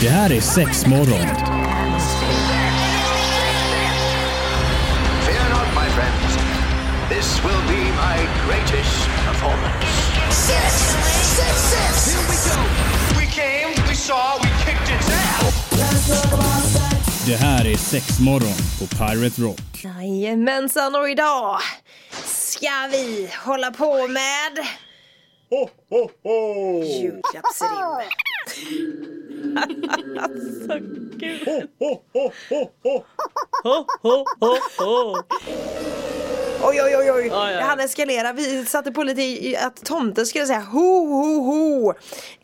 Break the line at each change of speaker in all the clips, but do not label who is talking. Det här är sex morgon.
Fear not, my friends. This will be my greatest performance.
Six, six, six.
We came, we saw, we kicked its ass.
Det här är sex morgon på Pirate Rock.
Jajamensan och idag ska vi hålla på med julklappsrim. alltså gud. Oj oj oj oj, det hann eskalera. Vi satte på lite i- i att tomten skulle säga ho ho ho.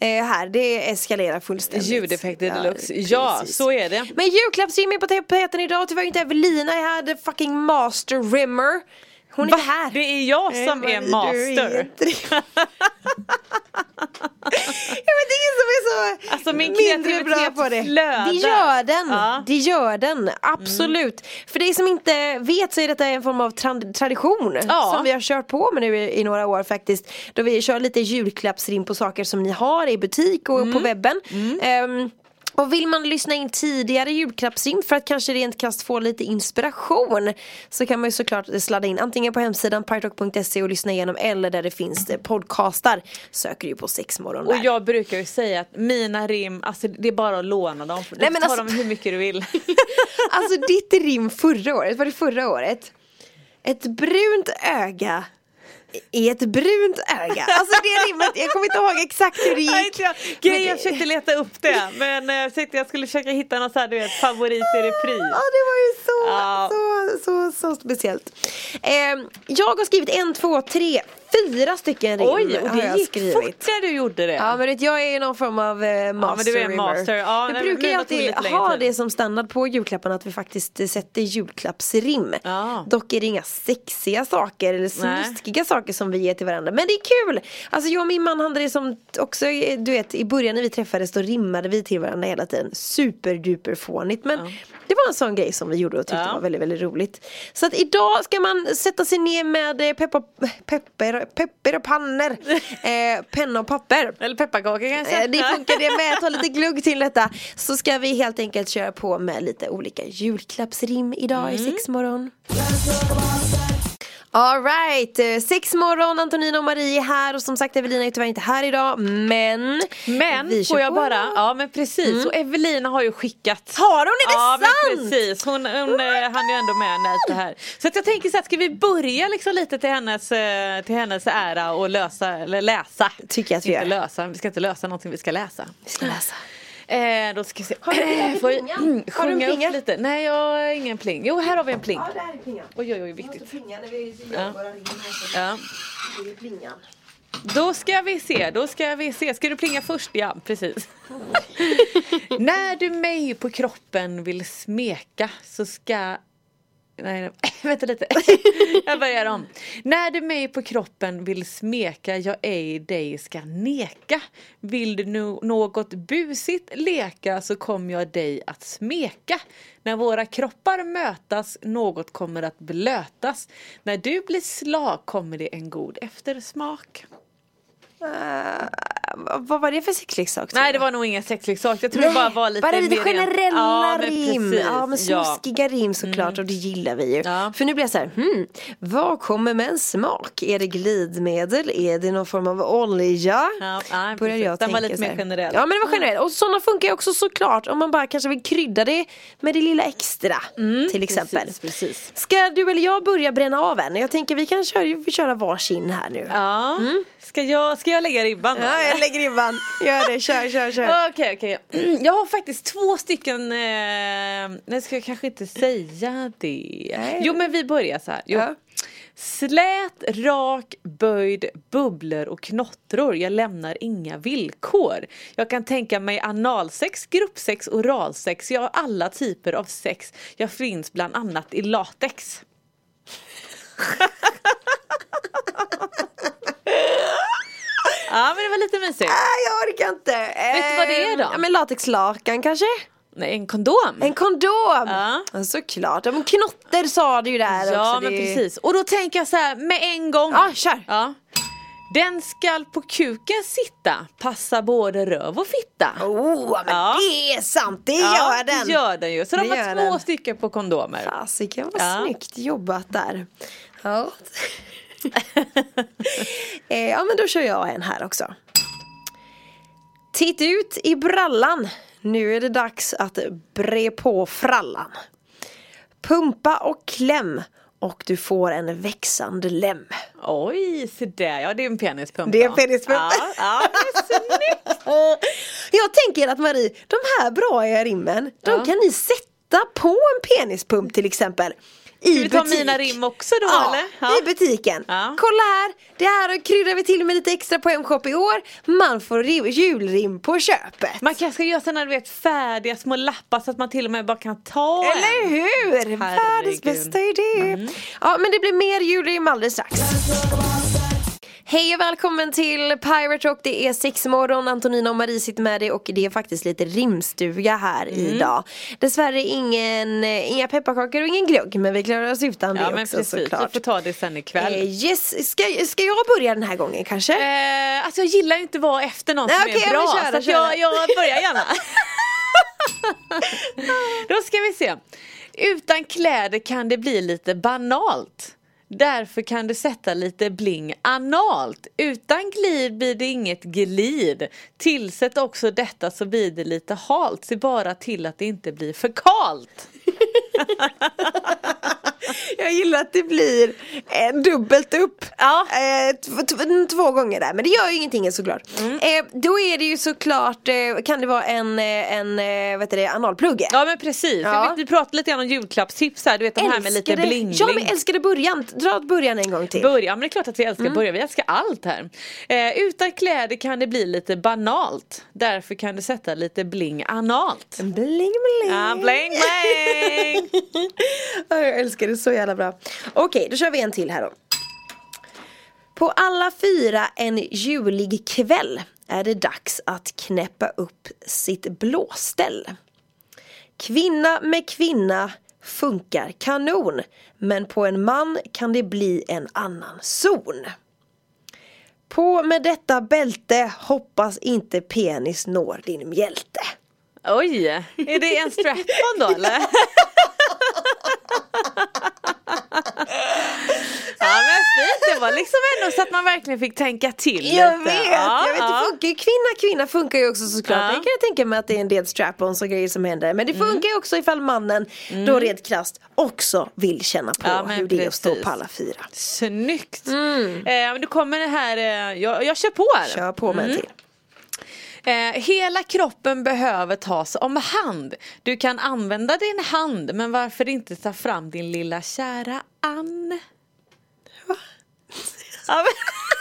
Eh, här, det eskalerar fullständigt.
Ljudeffekter deluxe. Ja,
precis.
så är det.
Men julklappsrim är på tapeten idag, tyvärr inte Evelina är här, the fucking master rimmer. Hon är inte här.
Det är jag som
Nej, men
är
du är
master.
inte det. jag vet ingen som är så
Alltså, min
mindre bra
kreativitet
på det.
flödar.
Det gör den,
Ja. Mm.
det gör den, absolut. För dig som inte vet så är detta en form av tran- tradition
Ja.
som vi har kört på med nu i, i några år faktiskt. Då vi kör lite julklappsrim på saker som ni har i butik och på webben. Ehm, och vill man lyssna in tidigare julklappsrim för att kanske rent krasst få lite inspiration så kan man ju såklart sladda in antingen på hemsidan partrock.se och lyssna igenom eller där det finns eh, podcastar söker du på sexmorgon
Och
där.
jag brukar ju säga att mina rim, alltså det är bara att låna dem. Du
Nej, men
tar
alltså-
dem hur mycket du vill.
Alltså ditt rim förra året, var det förra året? Ett brunt öga i ett brunt öga. Alltså det rimmet, jag kommer inte ihåg exakt hur det
Nej,
gick.
inte jag.
Men
Grej,
det-
jag försökte leta upp det men eh, jag tänkte jag skulle försöka hitta någon så här, du vet, favorit i repris.
Ja, det var ju så,
Ja.
så, så, så speciellt. Eh, jag har skrivit en, två, tre, fyra stycken rim.
Oj, och
har
det
jag
gick fort när du gjorde det.
Ja men vet, jag är ju någon form av eh, master
men du är en
rimmer.
master. Ja,
jag
nej,
brukar ju
mina tog
alltid
lite längre
ha
tid.
det som standard på julklapparna att vi faktiskt eh, sätter julklappsrim.
Ja.
Dock är det inga sexiga saker eller
Nej.
snuskiga saker som vi ger till varandra. Men det är kul! Alltså jag och min man hade det som också, eh, du vet i början när vi träffades då rimmade vi till varandra hela tiden. Superduper fånigt men det var en sån grej som vi gjorde och tyckte
Ja.
var väldigt väldigt roligt. Så att idag ska man sätta sig ner med eh, peppa, pepper, pepper och pannor, eh, penna och papper.
Eller pepparkakor kanske?
Eh, Det funkar det med, ta lite glugg till detta Så ska vi helt enkelt köra på med lite olika julklappsrim idag i
Mm.
sexmorgon Alright, sexmorgon, Antonina och Marie är här och som sagt Evelina är tyvärr inte här idag men
Men
vi kör
får jag
på. Mm.
bara, ja men precis, och Evelina har ju skickat.
Har hon? Är det
ja,
sant?
Men precis, hon, hon
my
eh, hann ju ändå med när det här. Så att jag tänker så här, ska vi börja liksom lite till hennes, eh, till hennes ära och lösa, eller läsa?
Tycker jag att vi
inte
gör.
lösa, vi ska inte lösa någonting, vi ska läsa.
Vi ska läsa
Eh, då ska vi se.
Har du en
Får jag
plinga? Har du en
sjunga
plinga?
upp lite? Nej jag har ingen pling. Jo här har vi en pling.
där är plingan Alltså
Oj oj oj, viktigt.
plingan när vi
Ja.
våra rim
Ja.
Det är plingan
Då ska vi se, då ska vi se. Ska du plinga först? Ja, precis. När du mig på kroppen vill smeka så ska... Nej, nej. vänta lite. jag börjar om. När du mig på kroppen vill smeka jag ej dig ska neka. Vill du no- något busigt leka så kommer jag dig att smeka. När våra kroppar mötas något kommer att blötas. När du blir slag kommer det en god eftersmak.
Eh, Vad var det för sexleksak?
Nej det var nog ingen sexleksak, jag tror det bara var lite
bara lite
mer rent-
generella rim.
precis. Mm.
Ja men snuskiga rim såklart och det gillar vi ju.
Ja.
För nu blir jag så här, hmm, vad kommer med en smak? Är det glidmedel? Är det någon form av olja?
Ja,
Börjar
nej, precis.
jag
Den
tänka
var lite mer
så här.
generell. Mm.
Ja men det var generell. Och sådana funkar ju också såklart om man bara kanske vill krydda det med det lilla extra till exempel.
Mm, precis, precis.
Ska du eller jag börja bränna av en? Jag tänker vi kan köra, köra varsin här nu.
Ja, ska, jag, ska jag lägga ribban då?
Mm. Ja, jag lägger ribban. Gör det, kör, kör, kör.
Okej, okej. Jag har faktiskt två stycken, eh, nej ska jag kanske inte säga det.
Nej.
Jo men vi börjar så här. Jo.
Ja.
Slät, rak, böjd, bubblor och knottror. Jag lämnar inga villkor. Jag kan tänka mig analsex, gruppsex, oralsex. Jag har alla typer av sex. Jag finns bland annat i latex. ja men det var lite mysigt.
Nej, jag orkar inte. Vet
du vad det är då?
Ja, men latexlakan kanske?
Nej, en kondom.
En kondom!
Ja.
såklart. Ja, men knotter sa du ju där också.
ja men
det är ju-
precis. Och då tänker jag så här med en gång.
Ja, kör.
Ja. Den skall på kuken sitta, passa både röv och fitta.
Oh, men
Ja.
det är sant, det
ja,
gör den!
det gör den ju. Så de
Det gör
har två
den.
stycken på kondomer.
Fasiken vad
Ja.
snyggt jobbat där. Ja. eh, ja men då kör jag en här också. Titt ut i brallan. Nu är det dags att bre på frallan. Pumpa och kläm och du får en växande lem.
Oj, se där. Ja, det är en penispump.
Det är en
ja.
penispump.
Ja, ja det är snyggt.
Jag tänker att Marie, de här bra är rimmen, de
Ja.
kan ni sätta på en penispump till exempel. I
Ska vi ta
butik.
mina rim också då
Ja,
eller?
i butiken.
Ja.
Kolla här, det här kryddar vi till med lite extra på M-shop i år. Man får rim, julrim på köpet.
Man kanske ska göra sådana du vet färdiga små lappar så att man till och med bara kan ta
Eller
en.
hur? Världens
Herregud. Mm.
bästa idé. Ja, men det blir mer julrim alldeles strax. Hej och välkommen till Pirate Rock, det är sexmorgon, Antonina och Marie sitter med dig och det är faktiskt lite rimstuga här
Mm.
idag Dessvärre ingen, eh, inga pepparkakor och ingen glögg men vi klarar oss utan
Ja
det
men
också
precis,
såklart
vi får ta det sen ikväll.
Eh, Yes, ska, ska jag börja den här gången kanske?
Eh, alltså jag gillar ju inte att vara efter någon
Nej,
som
okej, ja,
är
men
bra
kör,
så att
kör.
jag, jag börjar gärna. Då ska vi se. Utan kläder kan det bli lite banalt. Därför kan du sätta lite bling analt. Utan glid blir det inget glid. Tillsätt också detta så blir det lite halt. Se bara till att det inte blir för kalt.
Jag gillar att det blir eh, dubbelt upp.
Ja.
Eh, tv- tv- två gånger där, men det gör ju ingenting såklart.
Mm.
Eh, då är det ju såklart, eh, kan det vara en, eh, en eh, vad heter det, analplugge?
Ja men precis.
Ja.
Vi, vi pratade lite grann om julklappstips här. Du vet de här med lite
Älskade-
bling
Ja men älskade början, dra åt början en gång till.
Börja, men det är klart att vi
Mm.
älskar börja, vi älskar allt här. Eh, utan kläder kan det bli lite banalt. Därför kan du sätta lite bling analt.
bling bling.
Ja, bling bling!
Ja, Jag älskar det så jävla bra. Okej, då kör vi en till här då. På alla fyra en julig kväll är det dags att knäppa upp sitt blåställ. Kvinna med kvinna funkar kanon men på en man kan det bli en annan zon. På med detta bälte hoppas inte penis når din mjälte.
Oj, är det en strap-on då eller? ja men fint, det var liksom ändå så att man verkligen fick tänka till
Jag
lite.
vet,
Ja,
jag vet
ja.
det funkar ju. Kvinna, kvinna funkar ju också såklart.
Ja. Mm.
Det kan jag tänka mig att det är en del strap-ons och grejer som händer. Men det funkar ju också ifall mannen då rent krasst också vill känna på
Ja, men
hur det är att stå
precis.
på alla fyra.
Snyggt! Eh, men du kommer det här, eh, jag, jag kör på här.
Mm. Kör på
Mm.
med en till.
Eh, hela kroppen behöver tas om hand. Du kan använda din hand, men varför inte ta fram din lilla kära Ann? Ja men,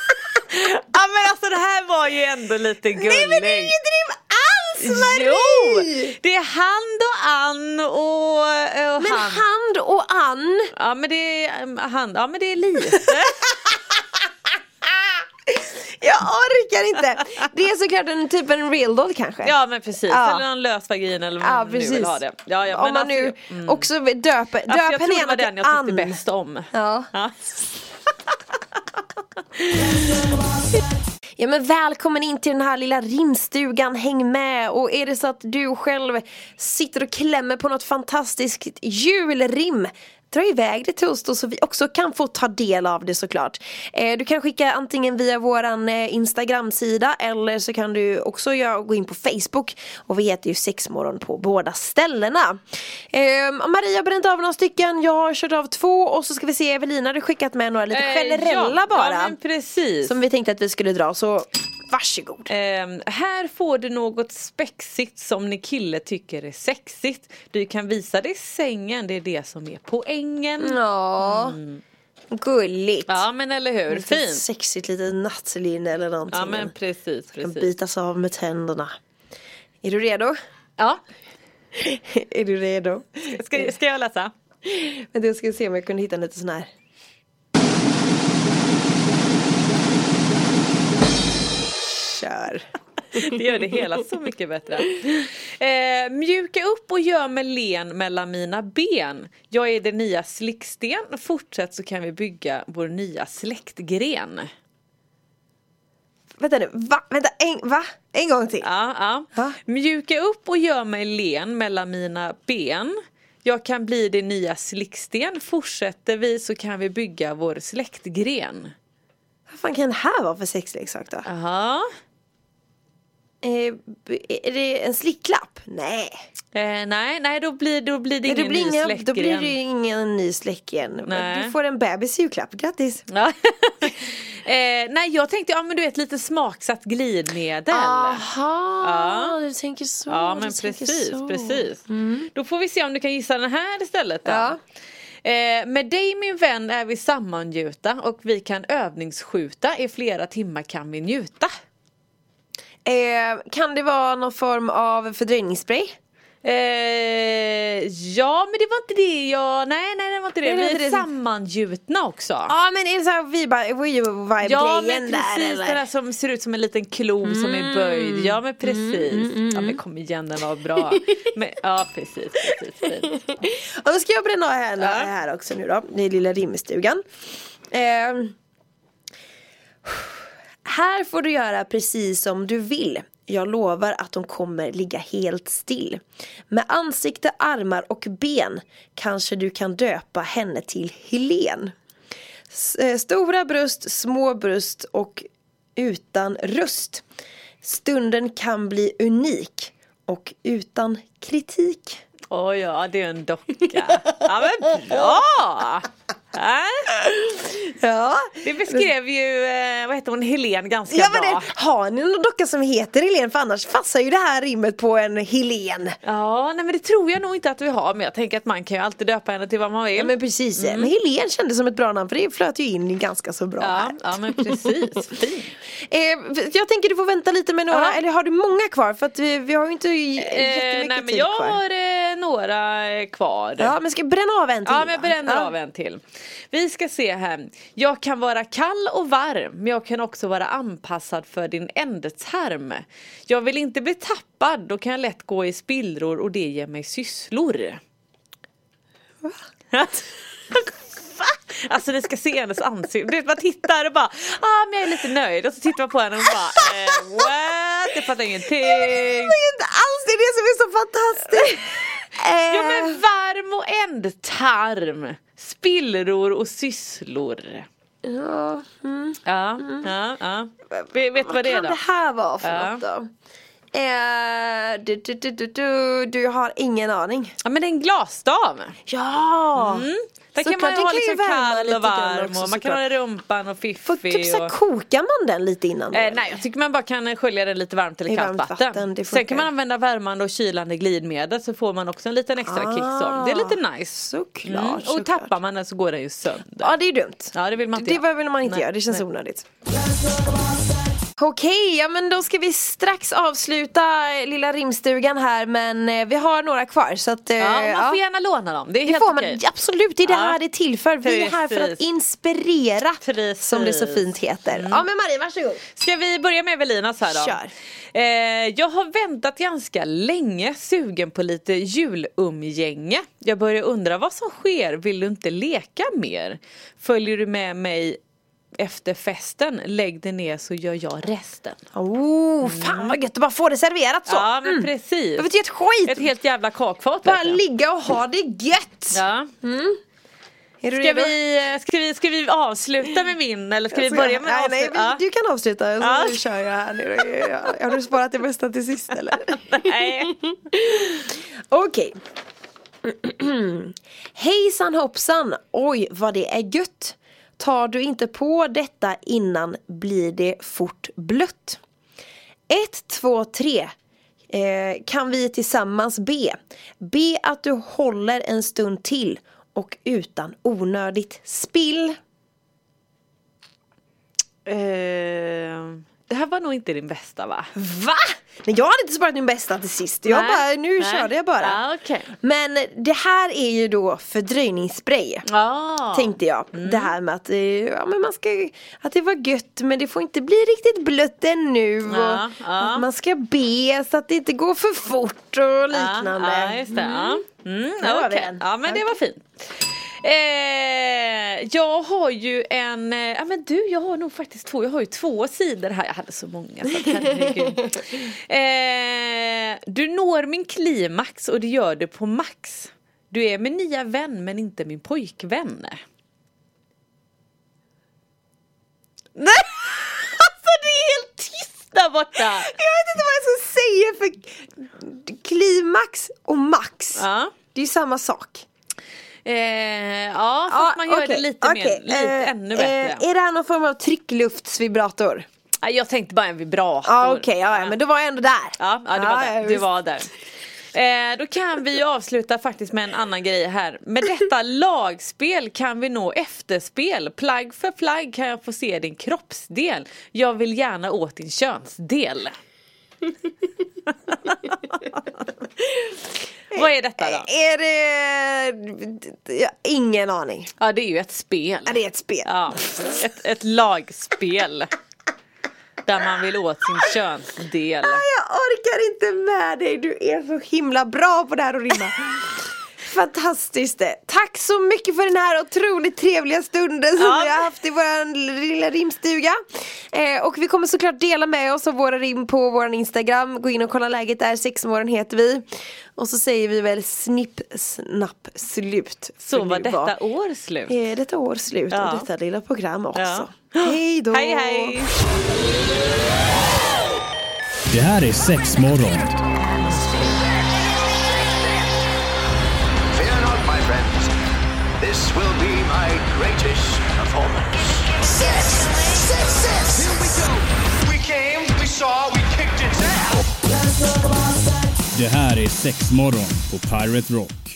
ja, men alltså det här var ju ändå lite gulligt.
Nej men det är ju inte rim alls
Jo!
Marie!
Det är hand och Ann och, eh, och
Men
hand.
hand och Ann.
Ja men det är eh, hand, ja men det är lite.
Jag orkar inte. Det är såklart en typ en real doll kanske.
Ja men precis,
Ja.
eller någon lös vagin eller vad
Ja,
man nu
precis.
vill ha det. Ja, ja,
Om
men
man nu
alltså,
också vill döpa, döpa
Alltså,
henne
jag tror det
gärna
var
till
den jag tyckte
Ann.
bäst om.
Ja. Ja men välkommen in till den här lilla rimstugan, häng med och är det så att du själv sitter och klämmer på något fantastiskt julrim Dra iväg det till oss då så vi också kan få ta del av det såklart. Eh, du kan skicka antingen via våran eh, Instagram-sida eller så kan du också göra, gå in på Facebook och vi heter ju Sexmorgon på båda ställena. Eh, och Maria har bränt av några stycken, jag har kört av två och så ska vi se Evelina har du skickat med några lite
Eh,
generella
ja,
bara.
Ja men precis.
Som vi tänkte att vi skulle dra så varsågod.
Ehm, här får du något spexigt som ni kille tycker är sexigt. Du kan visa det i sängen, det är det som är poängen.
Mm. Ja. Mm. Gulligt.
Ja men eller hur,
Lite
fint.
Sexigt lite nattlinne eller någonting.
Ja men precis.
kan
precis.
bitas av med tänderna. Är du redo?
Ja.
är du redo?
Ska, ska jag läsa?
Men jag ska se om jag kunde hitta lite sån här. Kör.
Det gör det hela så mycket bättre. Eh, mjuka upp och gör mig len mellan mina ben. Jag är den nya slicksten. Fortsätt så kan vi bygga vår nya släktgren.
Vänta nu, va? Vänta, en, va? En gång till.
Ja, ja.
Ja.
Mjuka upp och gör mig len mellan mina ben. Jag kan bli din nya slicksten. Fortsätter vi så kan vi bygga vår släktgren.
Vad fan kan det här vara för sexleksak då?
Ja.
Eh, b- är det en slicklapp? Nej.
Eh, nej, nej, då blir, då blir det
Nej,
ingen
då blir,
ny
inga,
släktgren.
då blir det ju ingen ny släktgren.
Nej.
Du får en bebis i julklapp, grattis!
Ja. eh, nej, jag tänkte, ja men du vet lite smaksatt glidmedel.
Ah.
Ja.
du tänker så.
Ja
du
men
tänker
precis,
så. Mm.
precis. Då får vi se om du kan gissa den här istället då.
Ja.
Eh, med dig min vän är vi sammangjuta och vi kan övningsskjuta. I flera timmar kan vi njuta.
Eh, kan det vara någon form av fördröjningsspray?
Eh, ja men det var inte det jag, nej nej det var inte
Nej,
det.
det var
vi
inte
är
det.
sammangjutna också.
Ja men är det såhär vibe-grejen där
Ja men precis, den
eller? Mm.
här som ser ut som en liten klo som är böjd. Ja men precis. Ja men kom igen den var bra. men, ja precis, precis, fint.
Och då ska jag bränna av här, här också nu då, i lilla rimstugan. Ehm. här får du göra precis som du vill. Jag lovar att de kommer ligga helt still. Med ansikte, armar och ben kanske du kan döpa henne till Helen. S- eh, Stora bröst, små bröst och utan röst. Stunden kan bli unik och utan kritik.
Oj ja det är en docka. Ja men bra! Äh?
Ja,
Det beskrev ju, eh, vad heter hon, Helen ganska
Ja, men
bra.
det, har ni någon docka som heter Helen? För annars passar ju det här rimmet på en Helen.
Ja nej men det tror jag nog inte att vi har men jag tänker att man kan ju alltid döpa henne till vad man vill.
Ja, men precis, Mm. men Helen kändes som ett bra namn för det flöt ju in ganska så bra
ja,
här.
ja men precis, fint.
Eh, jag tänker du får vänta lite med några,
Ja.
eller har du många kvar? För att vi, vi har ju inte
Eh,
jättemycket
nej men
tid
jag
kvar.
har eh, några eh, kvar.
Ja men ska jag bränna av en till?
Ja,
va?
men jag bränner
Ja.
av en till. Vi ska se här. Jag kan vara kall och varm, men jag kan också vara anpassad för din ändtarm. Jag vill inte bli tappad, då kan jag lätt gå i spillror och det ger mig sysslor. Va? Alltså ni ska se hennes ansikte, Du vet, man tittar och bara ah men jag är lite nöjd och så tittar man på henne och bara eh, what? Jag fattar
Det
ingenting.
är ju inte alls det, är det som är så fantastiskt! Eh,
Jo men varm och ändtarm, spillror och sysslor.
ja, mm.
Ja, ja, ja. Vet, vet du vad det är
kan
då?
det här vara för
Ja.
något då? Eh, du, du, du, du, du, du jag har ingen aning.
Ja men det är en glasstav.
Ja!
Mm. Där
Såklart,
kan man ju
den
ha
kan ju
liksom
värma
kall
lite
och
grann
varm
också,
och man kan ha den i rumpan och
Får typ
fiffig.
så här,
Och...
kokar man den lite innan? då,
Eh,
eller?
nej jag tycker man bara kan eh, skölja den lite varmt eller
I
kallt
varmt
vatten.
vatten, det
Sen
funkar.
kan man använda värmande och kylande glidmedel så får man också en liten extra kick så. Det är lite nice.
Såklart,
Mm. Och
såklart.
tappar man den så går den ju sönder.
Ja det är dumt.
Ja det vill man inte
Det
göra.
behöver man inte
Nej,
göra, det känns
nej.
onödigt. Okej, ja men då ska vi strax avsluta eh, lilla rimstugan här men eh, vi har några kvar så att eh,
Ja, man får
ja.
gärna låna dem. Det är
Det
helt
får man
okej.
absolut, det är det
Ja.
här det är till för. Vi är här för att
Precis.
inspirera
Precis. Mm.
som det så fint heter. Ja men Marie, varsågod.
Ska vi börja med Evelinas här då?
Kör.
Eh, jag har väntat ganska länge sugen på lite julumgänge. Jag börjar undra vad som sker, vill du inte leka mer? Följer du med mig efter festen, lägg dig ner så gör jag resten.
Oh, fan vad gött att bara få det serverat så.
Mm.
mm.
Ja men precis.
Jag vet ju ett skit.
Ett helt jävla kakfat.
Bara
vet jag.
ligga och ha det gött!
Ja.
Är du
Ska,
redo?
vi, eh, ska, vi, ska vi avsluta med min eller ska vi
Ska
börja
jag-
med
nej,
avslut-
nej, vi,
Ja.
Du kan avsluta, så
Ja.
kör jag här nu. Ja, Har du sparat det bästa till sist eller?
Nej.
Okej. Hejsan hoppsan, oj vad det är gött. Tar du inte på detta innan blir det fort blött. Ett, två, tre. Eh, kan vi tillsammans be? Be att du håller en stund till och utan onödigt spill.
Eh, det här var nog inte din bästa va?
Va? Nej jag hade inte sparat min bästa till sist. Jag bara,
Nej,
nu
nej.
körde jag bara.
Ja, okej.
Men det här är ju då fördröjningsspray.
Ja. Mm.
Tänkte jag. Det här med att, eh, ja, men man ska, att det var gött men det får inte bli riktigt blött ännu.
Ja,
och
ja.
Att man ska be så att det inte går för fort och liknande.
Ja, ja Ah. just det. Ja. Mm,
Där har vi
okej.
den.
ja men det var fint. Eh, jag har ju en, eh, ja men du jag har nog faktiskt två, jag har ju två sidor här. Jag hade så många så att, herregud. eh, Du når min klimax och det gör du på max. Du är min nya vän men inte min pojkvän.
Mm.
Nej! Alltså det är helt tyst där borta!
Jag vet inte vad jag ska säga för klimax och max.
Ja.
Det är ju samma sak.
Eh, ja, fast man gör det
okej,
lite mer,
okej.
lite
Eh,
ännu bättre.
eh, är det här någon form av tryckluftsvibrator?
Ja, jag tänkte bara en vibrator.
Ja okej, ja, ja, men då var jag ändå där.
Ja, ja, du var
ja,
där. Du
visst.
var där. Eh, då kan vi ju avsluta faktiskt med en annan grej här. Med detta lagspel kan vi nå efterspel. Plagg för plagg kan jag få se din kroppsdel. Jag vill gärna åt din könsdel. Vad är detta då?
Eh, Är det... Jag har ingen aning.
Ja, det är ju ett spel.
Ja, det är ett spel.
Ja, ett, ett lagspel. Där man vill åt sin könsdel.
Nej, Ah, Jag orkar inte med dig, du är så himla bra på det här att rimma. Fantastiskt! Tack så mycket för den här otroligt trevliga stunden som
Ja.
vi har haft i vår lilla rimstuga. Eh, och vi kommer såklart dela med oss av våra rim på vår Instagram. Gå in och kolla läget där, sexmorgon heter vi. Och så säger vi väl snipp, snapp, slut.
Så
För
var
nu
detta år slut.
eh, detta år slut
Ja.
och detta lilla program också.
Ja.
Hej då!
Hej hej!
Det här är sex morgon.
Fear not, my friends. This will be my greatest performance.
Six, six, six. Here we go.
We came, we saw, we kicked its ass.
Det här är sex morgon på Pirate Rock.